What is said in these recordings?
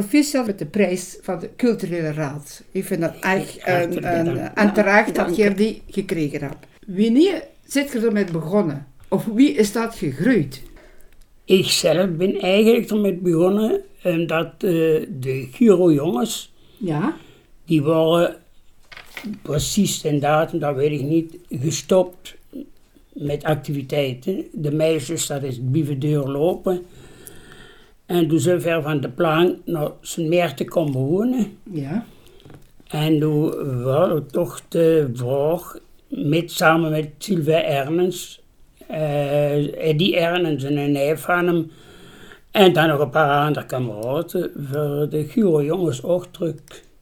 Proficiat met de prijs van de Culturele Raad. Ik vind dat echt hartelijk een, een, bedankt. en terecht Ja, dat dank je je. die gekregen hebt. Wanneer zit je ermee begonnen? Of wie is dat gegroeid? Ik zelf ben eigenlijk ermee begonnen eh, dat eh, de Giro-jongens, Ja? die waren precies ten datum, dat weet ik niet, gestopt met activiteiten. De meisjes, dat is blijven doorlopen. En toen zijn ver van de plank naar Sint te komen wonen. Ja. En toen waren toch de vraag, met, samen met Sylvia Ernens, eh Eddie Ernens en een neef van hem, en dan nog een paar andere kameraden, voor de Giro jongens ook druk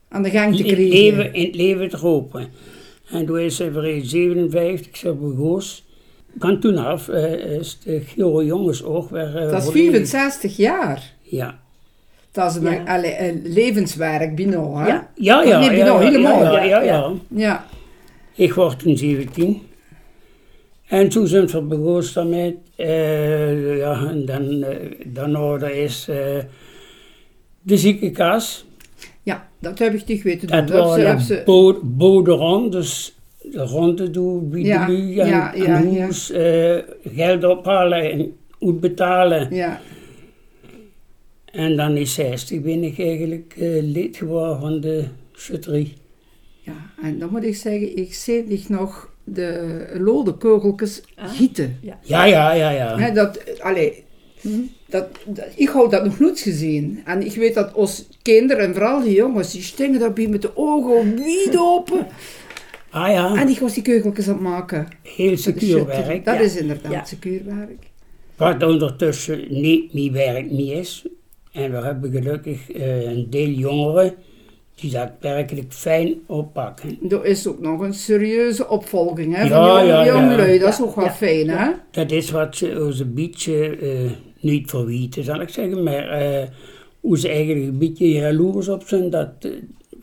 Aan de gang te in het krijgen. leven, in het leven te roepen. En toen is hij voor 57, zo begoos. Van toen af eh, is de Giro jongens ook weer... eh, Dat is volledig- 65 jaar. Ja. Dat is een, Ja. allee, een levenswerk, Bino. Hè? Ja. Ja, ja, Dat ja, neem Oh, je nog ja, helemaal. ja, ja, ja. Ja. Ik word toen 17. En toen zijn we begonnen daarmee. Eh, ja, en dan, eh, daarna dat is eh, de ziekenkas. Ja, dat heb ik niet weten doen. Dat Dat ze- dat was ze- een bo- boerderij, dus de ronde doen, wie Ja, de lui en, ja, ja, en ja. hoes, eh, geld ophalen en goed betalen. Ja, En dan in 60 ben ik eigenlijk eh, lid geworden van de chutterie. ja, en dan moet ik zeggen, ik zie niet nog de lode kogeltjes Ah. gieten. Ja, ja, ja, ja. Hè, dat, allee, dat, dat- ik had dat nog nooit gezien. En ik weet dat ons kinderen, en vooral die jongens, die stingen daarbij met de ogen wijd open. Ah ja, En ik was die keugeltjes aan het maken. heel secuur werk. Dat ja. is inderdaad Ja. secuurwerk. Wat ondertussen niet meer werk niet is. En we hebben gelukkig eh, een deel jongeren die dat werkelijk fijn oppakken. Er is ook nog een serieuze opvolging hè, van Ja, jong- ja, ja. jonglui. Dat is Ja, ook wel ja, fijn, hè? Dat is wat ze onze beetje eh, niet verwijten, zal ik zeggen, maar eh, hoe ze eigenlijk een beetje jaloers op zijn dat eh,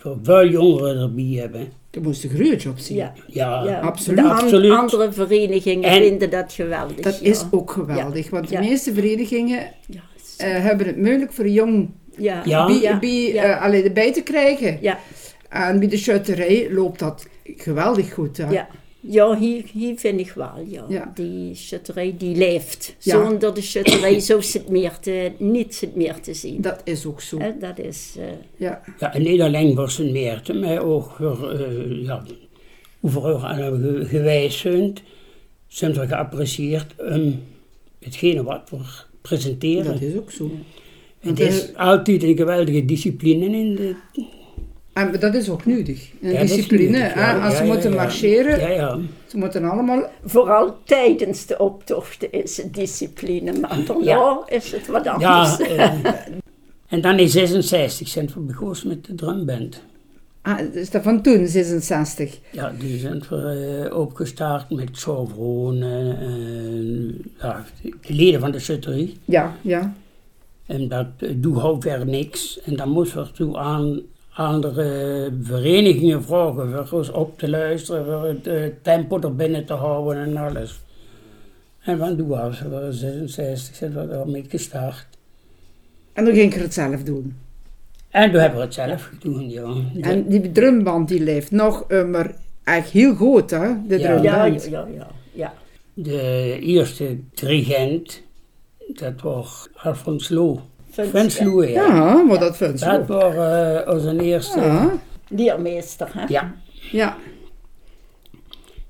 we veel jongeren erbij hebben. Daar moest een gruurtje op zien. Ja. Ja, ja. absoluut. De an- Absoluut. andere verenigingen En- vinden dat geweldig. Dat ja. is ook geweldig, want de Ja. meeste verenigingen Ja, eh, hebben het moeilijk voor jong ja. Ja. bij, ja, bij, ja. eh, allee, erbij te krijgen. Ja. En bij de schutterij loopt dat geweldig goed. Hè? Ja, ja hier, hier vind ik wel, ja. Ja. Die schutterij die leeft. Ja. Zonder de schutterij zo zit meer te, niet zit meer te zien. Dat is ook zo. Hè, dat is... eh, Ja. Ja, en niet alleen voor Sint Maarten, maar ook voor eh, ja, overal aan hem ge- gewijs zijn, zijn we geapprecieerd um, hetgene wat we presenteren. Dat is eh, ook zo. het is altijd een geweldige discipline in de En dat is ook nodig. Een ja, dat is discipline. natuurlijk, hè? ja, Als ja, ze ja, moeten ja. marcheren, Ja, ja. ze moeten allemaal... vooral tijdens de optochten is het discipline, maar daarna Ja. is het wat anders. Ja, eh, en dan in 66 zijn we begonnen met de drumband. Ah, is dat van toen, 66? Ja, die zijn we eh, opgestart met Chauvron, ja, de leden van de schutterie. Ja, ja. En dat eh, doe houdt weer niks. En dan moesten we toe aan andere verenigingen vragen voor ons op te luisteren, voor het eh, tempo er binnen te houden en alles. En van toen was we 66 zijn we daarmee gestart. En dan ging ik het zelf doen. En toen hebben we het zelf gedaan, ja. En die drumband die leeft nog, eh, maar echt heel goed, hè? De Ja. ja, ja, drumband. ja, ja, ja. De eerste dirigent, dat was Alfons Loo. Vins, Frans ja. Loo, ja. Ja, maar dat vindt ze Dat ook. was eh, onze eerste. Ja. Ja, eh, Leermeester, hè? ja. ja.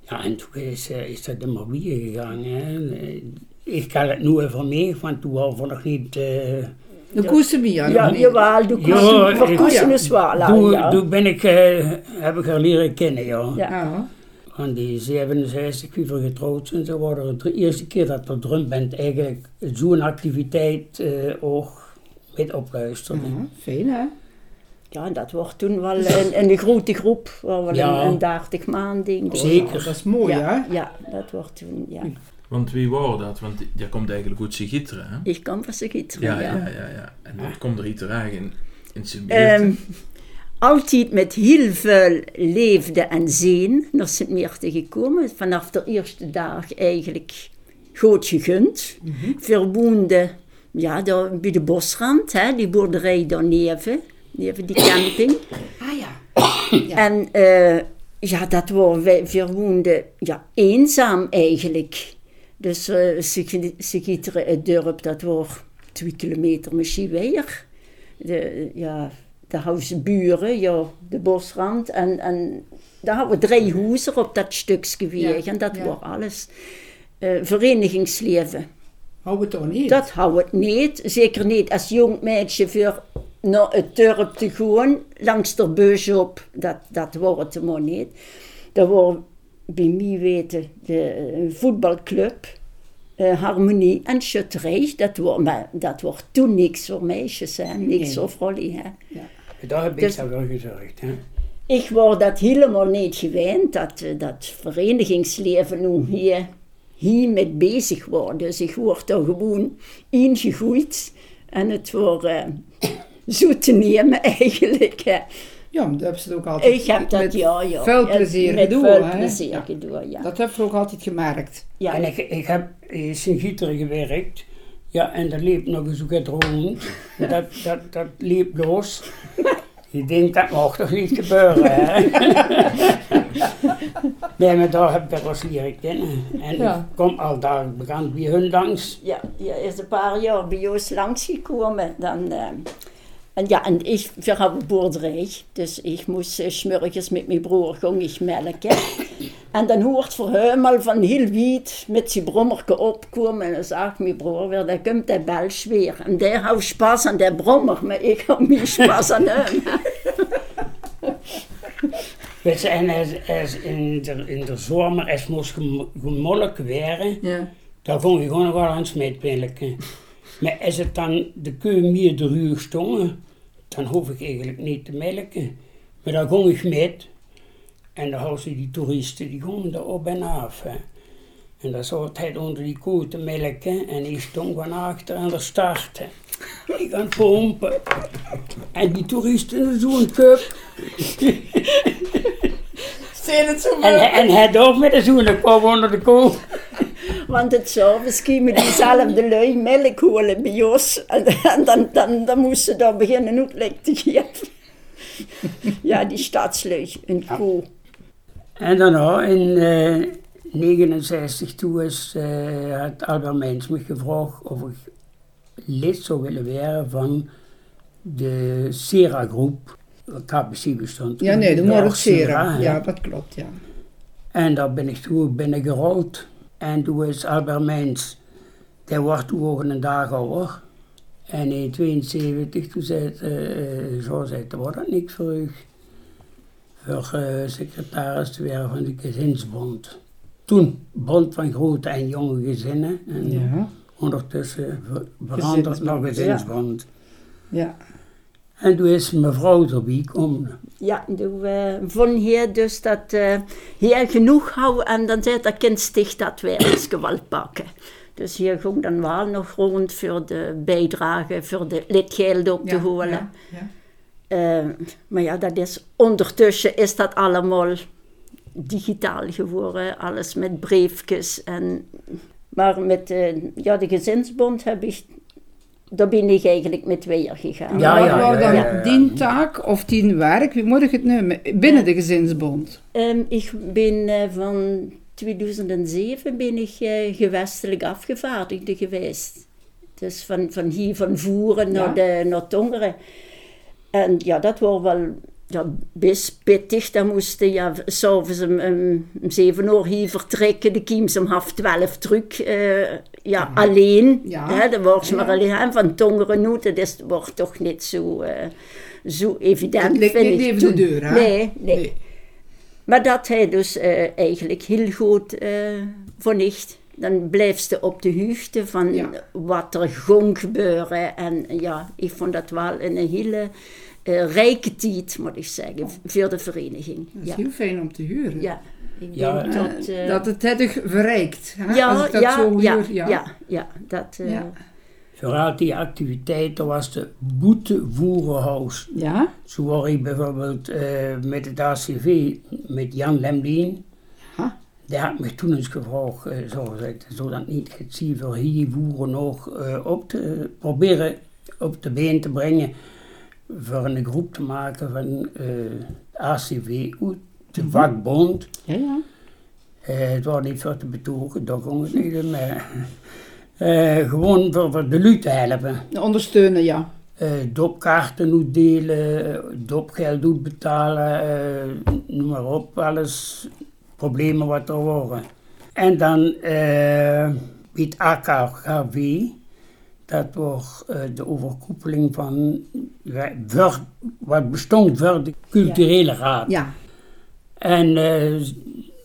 en toen is, eh, is dat de Marie gegaan. Hè. Eh, Ik kan het nu even mee, want toen waren we nog niet... eh, De koesemia. Ja, jawel, de Ja, koesten, ik- voor koesten ja. is wel aan, toen, ja. toen ben ik, eh, heb ik haar leren kennen, ja. Ja. Ja. Van die 67 wie we getrouwd zijn, ze waren het de eerste keer dat de drumband eigenlijk zo'n activiteit eh, ook met opluisterde. Mhm. Ja, fijn hè? Ja, dat wordt toen wel een, een grote groep, waar wel Ja. een, een 30 maand ding. Zeker. Ja, Nou, dat is mooi hè? Ja, ja, dat wordt toen, ja. Want wie wou dat? Want jij komt eigenlijk uit Sigitteren, hè? Ik kan van ze gieteren, Ja, ja, ja, ja. En dat komt er hier terug in, in sint Ehm, altijd met heel veel leefde en zin naar Sint Meerten gekomen. Vanaf de eerste dag eigenlijk goed gegund. Verwoende ja, daar, bij de bosrand, hè, die boerderij daarneven, neven die camping. Ah ja. En eh, ja, dat waren wij, we woonden ja, eenzaam eigenlijk. Dus eh, ze gi- ze gieteren het dorp, dat was twee kilometer misschien weer. De, ja, de huisburen, ja, de bosrand. En, en daar hadden we drie huizen op dat stukje weg. Ja, En dat ja. was alles. Eh, verenigingsleven. Hou het toch niet? Dat hou ik niet. Zeker niet als jong meisje voor naar het dorp te gaan, langs de bus op. Dat, dat wordt het maar niet. Er wordt bij mij weten de eh, voetbalclub, eh, Harmonie en Schutterij. Dat wordt, maar dat wordt toen niks voor meisjes, hè? niks Nee. voor vrouwen. Hè? Daar heb ik Dus- dan wel gezorgd. Hè? Ik word dat helemaal niet gewend, dat, eh, dat verenigingsleven nu hier, hier met bezig wordt. Dus ik word er gewoon ingegroeid en het wordt eh, zo te nemen eigenlijk. hè. Ja, maar dat hebben ze ook altijd. Ik heb dat, met ja, ja. veel met- plezier met gedaan, veel hè. plezier Ja. gedaan, ja. Dat hebben we ook altijd gemerkt. ja. En ik, ik heb in Sint-Gieter gewerkt. Ja, en dat liep nog eens ook het rond. Dat, dat, dat liep los. Ik denk, dat mag toch niet gebeuren, hè? nee, maar daar heb ik wel eens leren kennen. En Ja. ik kom al daar bekend bij hun langs. Ja, ja, is een paar jaar bij ons langsgekomen. Dan, eh, en ja, en ik we hadden boerderij, dus ik moest eh, 's smorgens met mijn broer ging ik melken. en dan hoort voor hem al van heel wiet met zijn brommerke opkomen. En dan zag mijn broer weer, daar komt de bels weer. En daar houdt spas aan de brommer, maar ik hou meer spas aan hem. Weet je, en als, als in, de, in de zomer, als moest gem- gemolken werden, Ja. dan vond je gewoon nog wel aan het smeetpillen. Maar als het dan de keu meer de uur stond, dan hoef ik eigenlijk niet te melken. Maar dan ging ik met en dan hadden ze die toeristen, die gingen er op en af. hè. En dan zat hij onder die koe te melken en ik stond van achter aan de start. hè. Ik aan het pompen. En die toeristen zo'n cup. Zijn het zo En, hij- en hij dook met de zoenen kwam onder de koe. Want het zou misschien met diezelfde lui melk holen bij ons. En, en dan, dan, dan moesten ze daar beginnen uitleg te geven. Ja, die stadslui, een koe. En daarna in 1969 toen is, eh, had Albert Meijns me gevraagd of ik lid zou willen worden van de SERA-groep. KPC bestond Ja, toen, nee, de de Morgzera. Sera, hè. Ja, dat klopt, ja. En daar ben ik toen binnengerold. En toen is Albert Meijns, die wordt toen ook een dag ouder. En in 72, toen zei het, eh, eh, zo zei het, wordt dat niks voor u. Voor eh, secretaris te werken van de gezinsbond. Toen, bond van grote en jonge gezinnen. En Ja. ondertussen ver- veranderd Gezinsbond, naar gezinsbond. ja. En toen is mevrouw erbij gekomen. Ja, toen eh, van hier dus dat eh hier genoeg houden. En dan zei dat kind sticht dat wij ons geweld pakken. Dus hier ging dan wel nog rond voor de bijdrage, voor de lidgeld op te ja, holen. ja, ja. Eh, maar ja, dat is, ondertussen is dat allemaal digitaal geworden, alles met briefjes. En, maar met eh, ja, de gezinsbond heb ik, daar ben ik eigenlijk met weer gegaan. Ja, Maar ja, wou ja, dan ja, ja. die taak of die werk, wie moet ik het nemen? Binnen de gezinsbond. Ehm, ik ben eh, van 2007 ben ik eh, gewestelijk afgevaardigde geweest. Dus van, van hier van Ja. Voeren naar, de, naar Tongeren. En ja, dat was wel ja, best pittig. Dan moesten ja, s'avonds om, om, om 7 uur hier vertrekken. De kiems om half 12 terug. eh, ja, alleen. Ja. Hè, dan was Ja. maar alleen hè, van Tongeren nu. Dat is, wordt toch niet zo, eh, zo evident. Dat ligt vind niet ik even de toen. deur, hè? Nee, nee. Maar dat hij dus eh, eigenlijk heel goed eh vernicht. Dan blijft ze op de hoogte van Ja. wat er ging gebeuren. En ja, ik vond dat wel een hele eh, rijke tijd, moet ik zeggen, voor de vereniging. Dat is Ja, heel fijn om te huren. ja. ik Ja, denk Eh, dat... eh, dat het heftig verrijkt. Hè? Als ja, ik dat ja, zo hoor, ja, ja, ja, dat... eh, Ja. Vooral die activiteit, dat was de boetevoerenhuis. Ja? Zo was ik bijvoorbeeld eh, met het ACV met Jan Lemdien. Ja. Die had me toen eens gevraagd, eh, zo gezegd, zodat niet het zie voor hier boeren nog eh, op te proberen op de been te brengen. Voor een groep te maken van eh ACWU, de vakbond. Ja, ja. Eh, het was niet voor te betogen, dat kon het niet. Maar, eh, gewoon voor, voor de lui te helpen. Nou, Ondersteunen, ja. Eh, dopkaarten uitdelen, dopgeld uit betalen, eh, noem maar op, alles problemen wat er waren. En dan eh het AKKW, dat was eh, de overkoepeling van wij- voor- wat bestond voor de culturele raad. ja. En eh,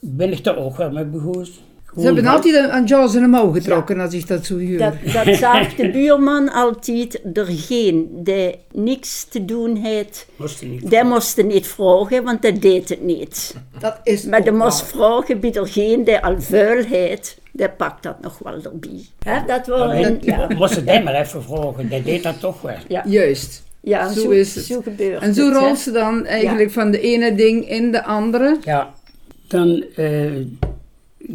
ben ik daar ook wel mee begoed. Ze hebben altijd aan- aan Jaws en omhoog getrokken als ik dat zo huur. Dat, dat zag de buurman altijd. Er geen die niks te doen had, Moest niet. die moesten niet vragen, want dat deed het niet. Dat is Maar de ook moest waar. vragen bij degene die al vuil had, die pakt dat nog wel erbij. Hè, dat was Alleen, een, ja, Moest ik hem maar even vragen, dat deed dat toch wel. Juist. ja Zo zo, is het. zo gebeurt En zo het, hè. rolt ze dan eigenlijk van de ene ding in de andere. Ja. Dan eh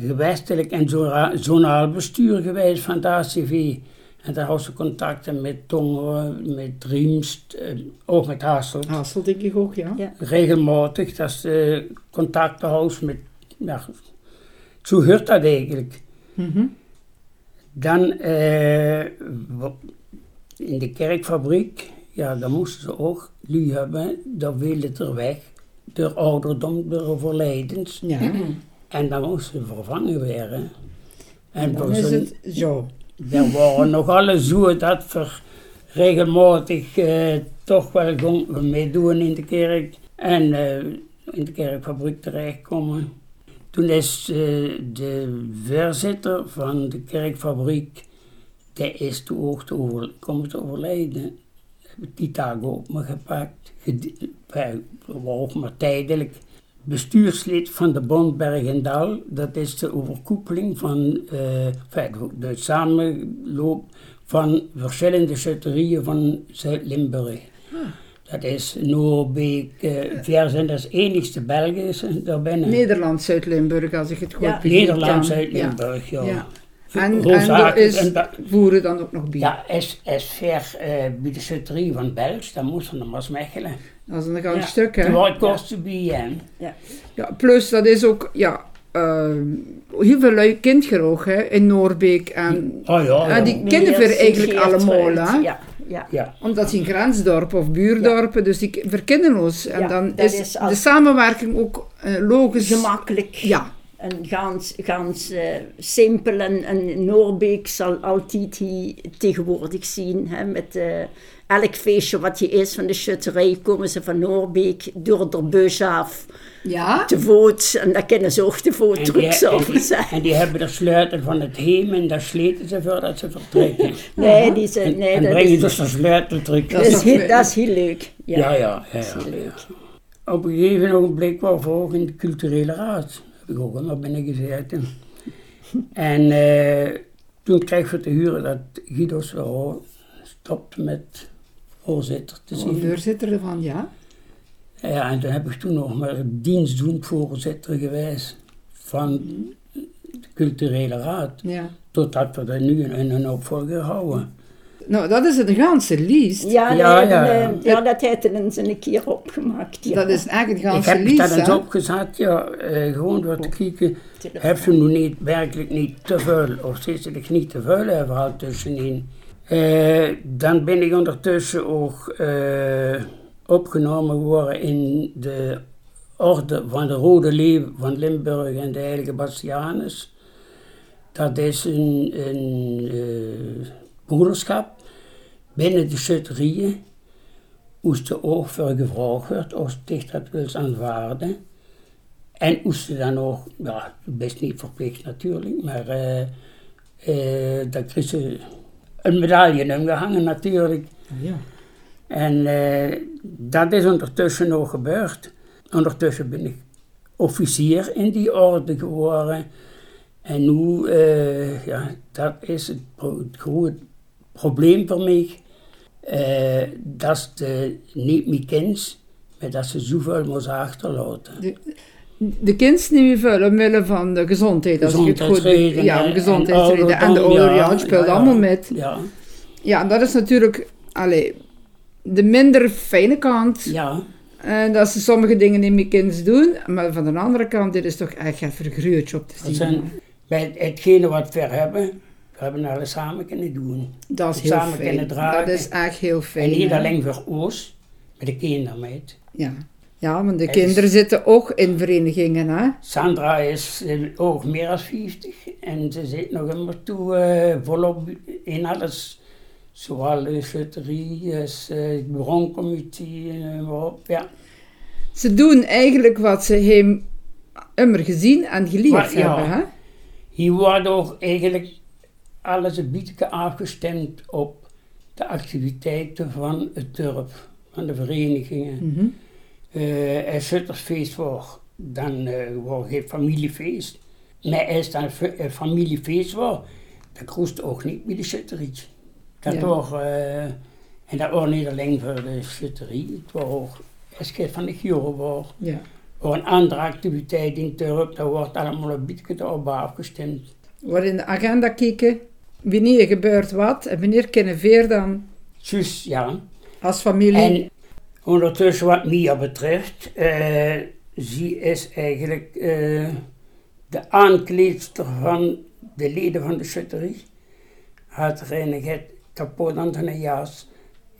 gewestelijk en zora- zonaal bestuur geweest van de ACV. En daar had ze contacten met Tongeren, met Riemst, eh, ook met Hasselt. Hassel denk ik ook, ja. Ja. Regelmatig dat ze contacten houdt met... Ja, zo hoort dat eigenlijk. Mhm. Dan eh, wa- in de kerkfabriek, ja, daar moesten ze ook lui hebben, dat wilde er weg. Door ouderdom, door overlijdens. Ja, En dan moesten ze vervangen werden. En dan voor is zo'n- het zo. er waren nog alle zo dat we regelmatig eh, toch wel gewoon meedoen in de kerk. En eh, in de kerkfabriek terechtkomen. Toen is eh, de voorzitter van de kerkfabriek, die is toen ook te over, komen te overlijden. Heb ik die taak op me gepakt. Ged- bij- Ook maar tijdelijk. Bestuurslid van de Bond Bergendal, dat is de overkoepeling van eh, enfin, de- de samenloop van verschillende schutterieën van Zuid-Limburg. Dat is Noorbeek, eh Vierzen, dat is enigste Belgische daarbinnen. Nederland, Zuid-Limburg, als ik het goed Ja. begrijp dan. Nederland, Zuid-Limburg, ja. Ja. V- Ja. En, en Roosakens er is en Ba- voeren dan ook nog bij. ja, is, is ver eh, bij de schutterie van Belgisch, dan moest van de Maasmechelen. Dat is een goud Ja. stuk, hè. Toen was het kost te bieden. Ja, plus dat is ook, ja, ehm, heel veel lui kindgeroog, hè, in Noorbeek. En, Oh ja, ja. en die kennen we Meneer eigenlijk Geertruid, allemaal, hè. Ja, ja. ja. Omdat ze in grensdorpen of buurdorpen, dus die k- verkennen ons. En Ja, dan dat is, is de als- samenwerking ook eh, logisch. Gemakkelijk. Ja, En gans, gans eh, simpel en, en Noorbeek zal altijd hier tegenwoordig zien. Hè, met eh, elk feestje wat je is van de schutterij komen ze van Noorbeek door de bus af. ja. Te voet, en daar kennen ze ook te voet En die, trucs en, over die, zijn. en die hebben de sleutel van het heem en daar sleten ze voor dat ze vertrekken. Nee, die zijn, En, nee en dat, brengen is, dus de sleutel terug. Dat dat, is is nog heel, leuk. dat is heel leuk. Ja, ja, ja, ja, dat is heel ja. leuk. Op een gegeven ogenblik was we ook in de culturele raad. Heb ik ook allemaal binnen gezeten. en eh, toen kreeg we te huren dat Guido Soro stopte met voorzitter Oh, te De zijn. Dus voorzitter ervan, ja. Ja, en toen heb ik toen nog maar dienstdoend voorzitter geweest van de culturele raad. ja. Totdat we er nu een, een opvolger houden. Nou, dat is een ganse lijst. Ja, Ja, nee, ja. en, eh, ja, dat heeft hij eens een keer opgemaakt. Ja. Oh. Dat is eigenlijk een Ik ganse heb dat lijst, eens hè. opgezet, ja, eh, gewoon door te kijken. Heb ze nu niet, werkelijk niet te veel, of zit ze er niet te veel overhoud tussenin? Eh, dan ben ik ondertussen ook eh, opgenomen geworden in de orde van de Rode Leeuw van Limburg en de Heilige Bastianus. Dat is een, een eh, broederschap binnen de schutterieën. Moest er ook voor gevraagd werd of zich dat wil aanvaarden. En moest ze dan ook, ja, best niet verplicht natuurlijk, maar eh eh, daar kreeg ze een medaille aan gehangen natuurlijk. Ja. En eh, dat is ondertussen nog gebeurd. Ondertussen ben ik officier in die orde geworden. En nu, eh, ja, dat is het, pro- het grote probleem voor mij. Eh, dat ze niet meer kent, maar dat ze zoveel moest achterlaten. De- de kinderen niet meer vullen omwille van de gezondheid. Als ik het goed Gezondheidsredenen ja, om en gezondheidsredenen. En de ouderdom, ouderen, ja, ja, het speelt ja, ja. allemaal met. Ja, Ja, en dat is natuurlijk allee, de minder fijne kant. ja. En dat ze sommige dingen niet meer kinderen doen. Maar van de andere kant, dit is toch echt een vergruurtje op te zien. Dat zijn bij hetgene wat we hebben, we hebben alles samen kunnen doen. Dat is heel samen fijn. kunnen dragen. Dat is echt heel fijn. En niet ja. alleen voor ons, maar de kinderen meid. Ja. ja, want de is- kinderen zitten ook in verenigingen, hè? Sandra is eh, ook meer dan 50 en ze zit nog immer toe eh, volop in alles. Zowel de schutterie, als eh, het broncomité en eh, maar op. Ja. Ze doen eigenlijk wat ze hem immer gezien en geleerd Maar ja. hebben, hè? Hier wordt ook eigenlijk alles een beetje afgestemd op de activiteiten van het dorp, van de verenigingen. Mhm. eh als het een feest wordt, dan eh wordt geen familiefeest. Maar als dan fe- een familiefeest wordt, dan kost ook niet meer de schutterietje. Dat Ja. wordt, eh, en dat wordt niet alleen voor de schutterie, het wordt ook als het van de Giro wordt. Ja. Of een andere activiteit in het dorp, dat wordt allemaal een beetje daarop afgestemd. We worden in de agenda kijken. Wanneer gebeurt wat en wanneer kunnen veer dan Juist, ja. als familie? En ondertussen wat Mia betreft, eh ze is eigenlijk eh, de aankleedster van de leden van de schutterie. Had reinigheid kapot aan de jas.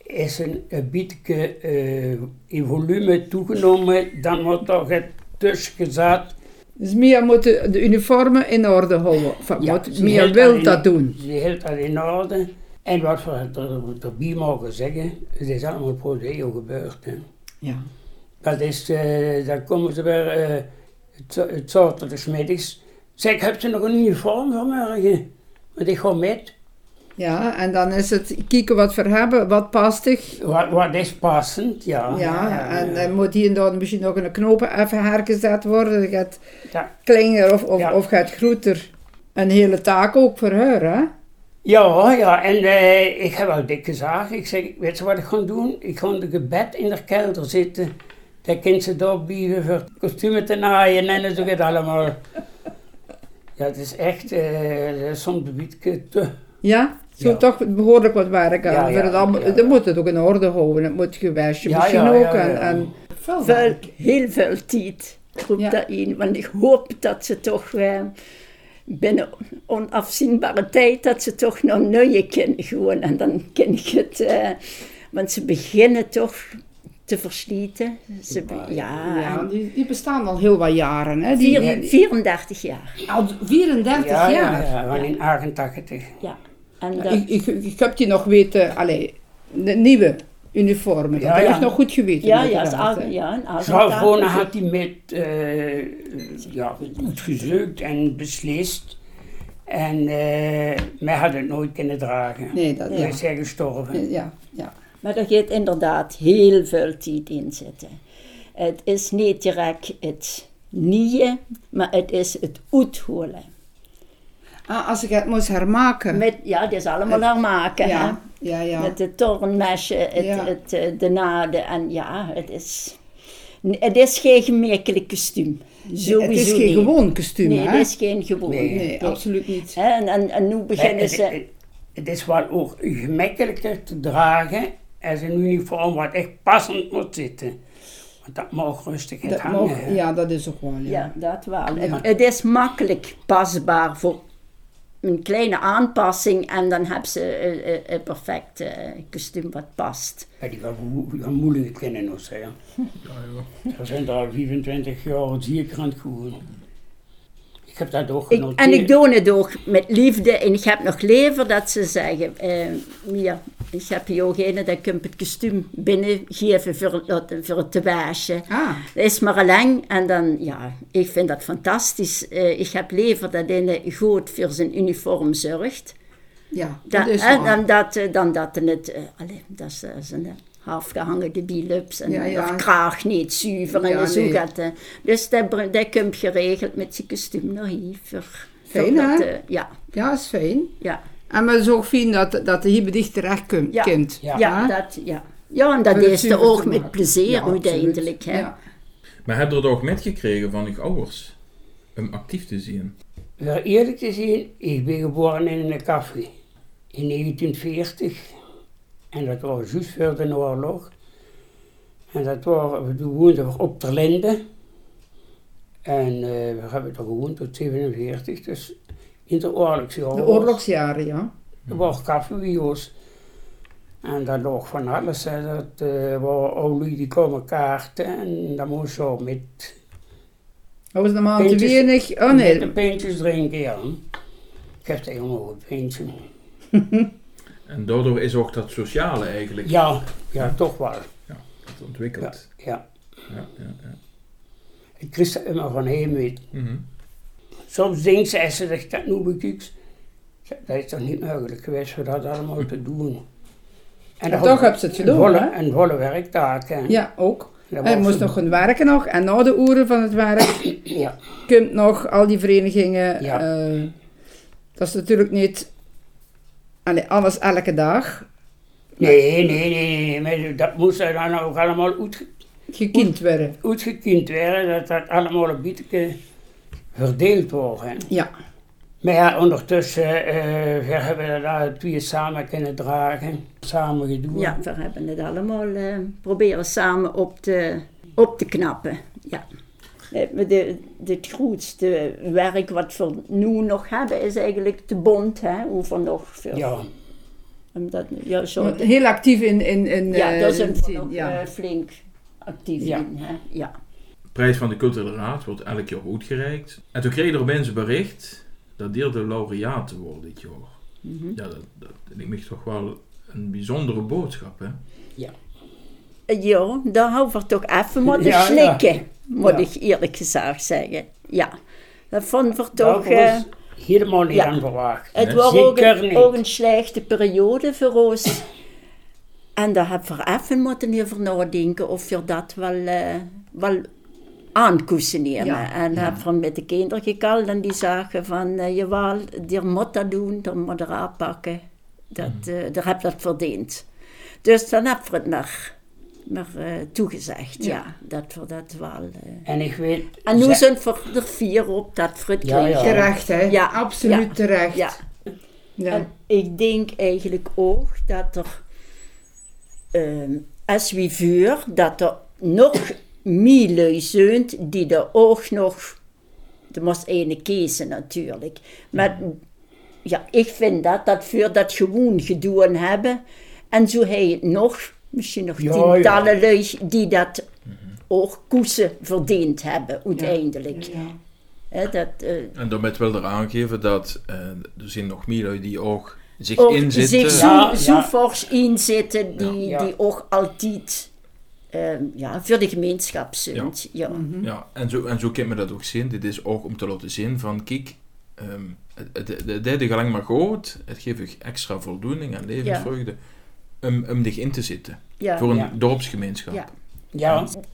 Is een, een beetje eh, in volume toegenomen. Dan wordt toch het tussen gezet. Dus Mia moet de, de uniformen in orde houden. Enfin, Ja, moet- ze Mia hield wil in- dat doen. Ze hield dat in orde. En wat we er- erbij mogen zeggen, het is allemaal pro deo gebeurd. Hè. Ja. Dat is, eh, dan komen ze weer, eh, het, zo- het soort van de smiddags. Zeg, heb je nog een uniform vanmorgen? Want ik ga met. ja, en dan is het kijken wat we hebben, wat pastig. Wat, wat is passend, Ah, ja. Ja, en eh, dan moet hier en daar misschien nog een knopen even hergezet worden. Dat gaat Ja, kleiner of, of, Ja. of gaat groter. Een hele taak ook voor haar, hè? ja, ja, en eh, ik heb al dik gezegd. Ik zeg, weet je wat ik ga doen? Ik ga de gebed in de kelder zitten. Daar kan ze doorbieven voor kostumen te naaien en zo gaat allemaal. Ja, het is echt eh, soms een beetje te... Ja? Zo Ja. toch behoorlijk wat werk aan. Ja, voor ja, het allemaal, ja. Dan moet het ook in orde houden. Het moet gewasje Ja, misschien ja, ook. ja, ja. En, en, Veel, heel veel tijd roept Ja. dat in. Want ik hoop dat ze toch eh, binnen onafzienbare tijd, dat ze toch nog nieuwe kennen gewoon. En dan ken ik het. eh, want ze beginnen toch te versleten. Ze, be- ja, ja, en die, die bestaan al heel wat jaren, hè? Die, vier- die- 34 jaar. al 34 ja, jaar. ja, ja, van in 88. Ja. En dat, Ik, ik, ik heb die nog weten, allee, de nieuwe uniformen. Dat Ja, heb ja. ik nog goed geweten. ja, ja, uiteraard, is al- hè. ja, een Mevrouw avondtaal. Vrona had die met eh, ja, goed gezocht en beslist. En eh, mij had het nooit kunnen dragen. Nee, dat Wij ja. zijn gestorven. Ja, ja. Maar daar gaat inderdaad heel veel tijd in zitten. Het is niet direct het nieuwe, maar het is het uitholen. Ah, als ik het moest hermaken. Met, ja, dat is allemaal haar maken. ja, ja, Hè? ja. Met de tornmesje, het, Ja. het, eh, de naden en ja, het is, het is geen gemakkelijk kostuum. Sowieso het is geen niet. gewoon kostuum, Nee, hè? het is geen gewoon. Nee, Nee, absoluut niet. Hè, En, en, en nu Maar beginnen dus, eh, het, ze... het, het is wel ook gemakkelijker te dragen als een uniform wat echt passend moet zitten. Want dat mag rustig het Dat hangen. mag- hè. ja, dat is ook wel, ja. Ja, dat wel. Het, het is makkelijk pasbaar voor een kleine aanpassing en dan hebben ze een- een- een perfect eh, kostuum wat past. Ja, die was mo- moeilijk te kennen nog zeggen. We zijn er al 25 jaar zeker aan het goed. Ik heb dat ook Ik, genoteerd. en ik doe het ook met liefde en ik heb nog liever dat ze zeggen, eh, Mia, ik heb hier ook een, dat ik hem het kostuum binnengeven voor, het- voor het te waschen. Ah, Dat is maar lang en dan, ja, ik vind dat fantastisch. Eh, ik heb liever dat een goed voor zijn uniform zorgt. ja. Da- dat is en, waar. en dat, eh, dan dat er net, eh allee, dat is eh, zo'n eh, halfgehangen bilups en Ja, eh, ja. of kraag niet zuiver en Ja, zo nee. gaat eh. Dus dat, br- dat komt geregeld met zijn kostuum naar hier. Voor, voor Fijn, dat, hè? eh, ja, Ja, is fijn. ja, En maar zo fijn dat, dat de hierbedicht terecht komt. Ja. komt. Ja. ja, dat, ja. Ja, en dat Voor het is er zuiver ook te met maken. plezier Ja, absoluut. uiteindelijk. Hè? Ja. Maar heb je het ook metgekregen van uw ouders om actief te zien? Ja, eerlijk te zien, ik ben geboren in een café in 1940. En dat was juist voor de oorlog. En dat waren, toen woonden we op Terlinde. En eh, we hebben er gewoond tot 47, dus in de oorlogsjaren. De oorlogsjaren, ja. Er was kaffeewiels. En daar lag van alles. Hè. Dat eh waren olie die komen kaarten. En dan moest je ook met Dat was normaal te Pintjes. weinig. Oh nee, Met de pintjes drinken, ja. Ik heb helemaal een pintje. En daardoor is ook dat sociale eigenlijk Ja, ja, toch wel. ontwikkeld. Ja. Ja, ja, ja. Ik wist er immer van heen weet. Mhm. Soms denkt ze, als ze zegt, dat noem ik iets. Ik zeg, Dat is toch niet mogelijk geweest om dat allemaal te doen. En toch hebben ze het gedaan, hè? En volle werktaak. hè. ja, ook. Dat Hij was moest het. nog gaan werken nog. En na de uren van het werk Ja, komt nog al die verenigingen. Ja. eh, dat is natuurlijk niet allee, alles elke dag nee, nee, nee, nee, maar dat moest er dan ook allemaal uitge- gekiend worden. uitgekiend worden, dat dat allemaal een beetje verdeeld wordt. hè. Ja. Maar ja, ondertussen eh, we hebben we daar twee samen kunnen dragen, samen gedoe. Ja, we hebben het allemaal eh, proberen samen op te, op te knappen. Ja. Eh, maar De, de, het grootste werk wat we nu nog hebben is eigenlijk de bond. Hè? Hoeveel nog veel? Ja, Omdat, ja, zo, Maar Heel actief in... in, in ja eh, daar zijn we zin, nog ja. eh, flink actief Ja. in. Hè? Ja. De prijs van de culturele raad wordt elk jaar uitgereikt. En toen kreeg er opeens een bericht dat deel de laureaat te worden dit jaar. Mhm. Ja, dat, dat ik me toch wel een bijzondere boodschap, hè? Ja, daar Eh, houden we toch even moeten Ja, ja. slikken, moet Ja. ik eerlijk gezegd zeggen. Ja, dat vonden we dat toch... eh, was helemaal niet ja. aan verwacht. het Nee, was ook zeker niet. een, ook een slechte periode voor ons. en daar hebben we even moeten over nadenken of je dat wel, eh, wel aan koesten nemen. Ja. En hebben we met de kinderen gekald en die zagen van, je jawel, die moet dat doen, die moet er aanpakken. Dat, Mm. eh, daar heb je dat verdiend. Dus dan hebben we het maar, maar eh, toegezegd, ja. Ja. Dat we dat wel... eh. En ik weet... En nu ze- zijn we er vier op dat we het Ja, kregen. ja. Terecht, hè? Ja. Absoluut Ja. terecht. Ja. Ja. En ik denk eigenlijk ook dat er, ehm als we vuur, dat er nog meer lui zijn die er ook nog, er moest ene kiezen natuurlijk, maar ja, ik vind dat, dat vuur dat gewoon gedaan hebben, en zo hij het nog, misschien nog Ja, tientallen lui die dat ook koezen verdiend hebben, uiteindelijk. Ja. Hè, dat, eh, En daarmee wil er aangeven dat eh, er zijn nog meer lui die ook zich ook inzitten. zich zo, Ja, zo ja. fors inzetten die, Ja. die ook altijd ehm, ja, voor de gemeenschap zijn. Ja. Mhm. Ja, en zo, en zo kan me dat ook zien. Dit is ook om te laten zien van, kijk, ehm het- het het- het deed je lang maar goed. Het geeft je extra voldoening en levensvreugde om, om dich in te zitten. Ja. voor een Ja. dorpsgemeenschap. Ja. Ja,